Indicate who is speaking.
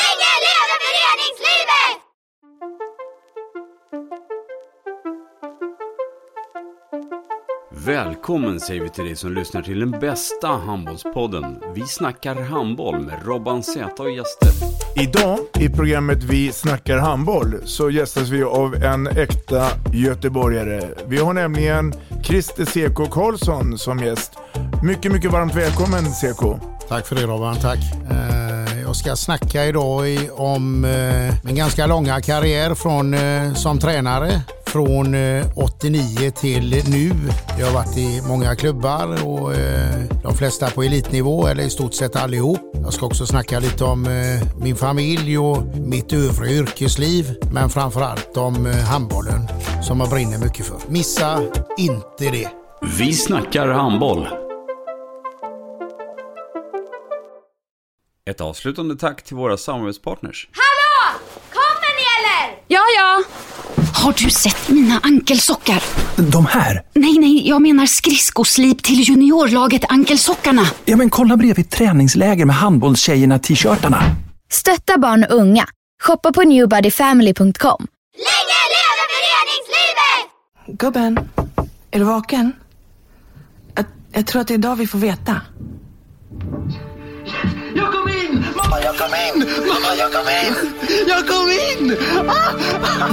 Speaker 1: Länge leve föreningslivet!
Speaker 2: Välkommen säger vi till dig som lyssnar till den bästa handbollspodden. Vi snackar handboll med Robban Z och gäster.
Speaker 3: Idag i programmet Vi snackar handboll så gästas vi av en äkta göteborgare. Vi har nämligen Christer CK Karlsson som gäst. Mycket, mycket varmt välkommen CK.
Speaker 4: Tack för det Robban, tack. Eh, Jag ska snacka idag i- om eh, min ganska långa karriär från, eh, som tränare. Från eh, 89 till nu. Jag har varit i många klubbar och eh, de flesta på elitnivå eller i stort sett allihop. Jag ska också snacka lite om eh, min familj och mitt övriga yrkesliv. Men framförallt om eh, handbollen som jag brinner mycket för. Missa inte det.
Speaker 2: Vi snackar handboll. Ett avslutande tack till våra samarbetspartners.
Speaker 1: Hallå! Kommer ni eller?
Speaker 5: Ja, ja. Har du sett mina ankelsockar?
Speaker 6: De här?
Speaker 5: Nej, nej, jag menar skridskoslip till juniorlaget Ankelsockarna.
Speaker 6: Ja, men kolla bredvid träningsläger med handbollstjejerna-t-shirtarna.
Speaker 7: Stötta barn och unga. Shoppa på newbodyfamily.com.
Speaker 1: Länge leve föreningslivet!
Speaker 8: Gubben, är du vaken? Jag, jag tror att det är idag vi får veta.
Speaker 9: Jag kom in! Mamma, jag kom in! Mamma, jag kom in! Jag kom in! Ah!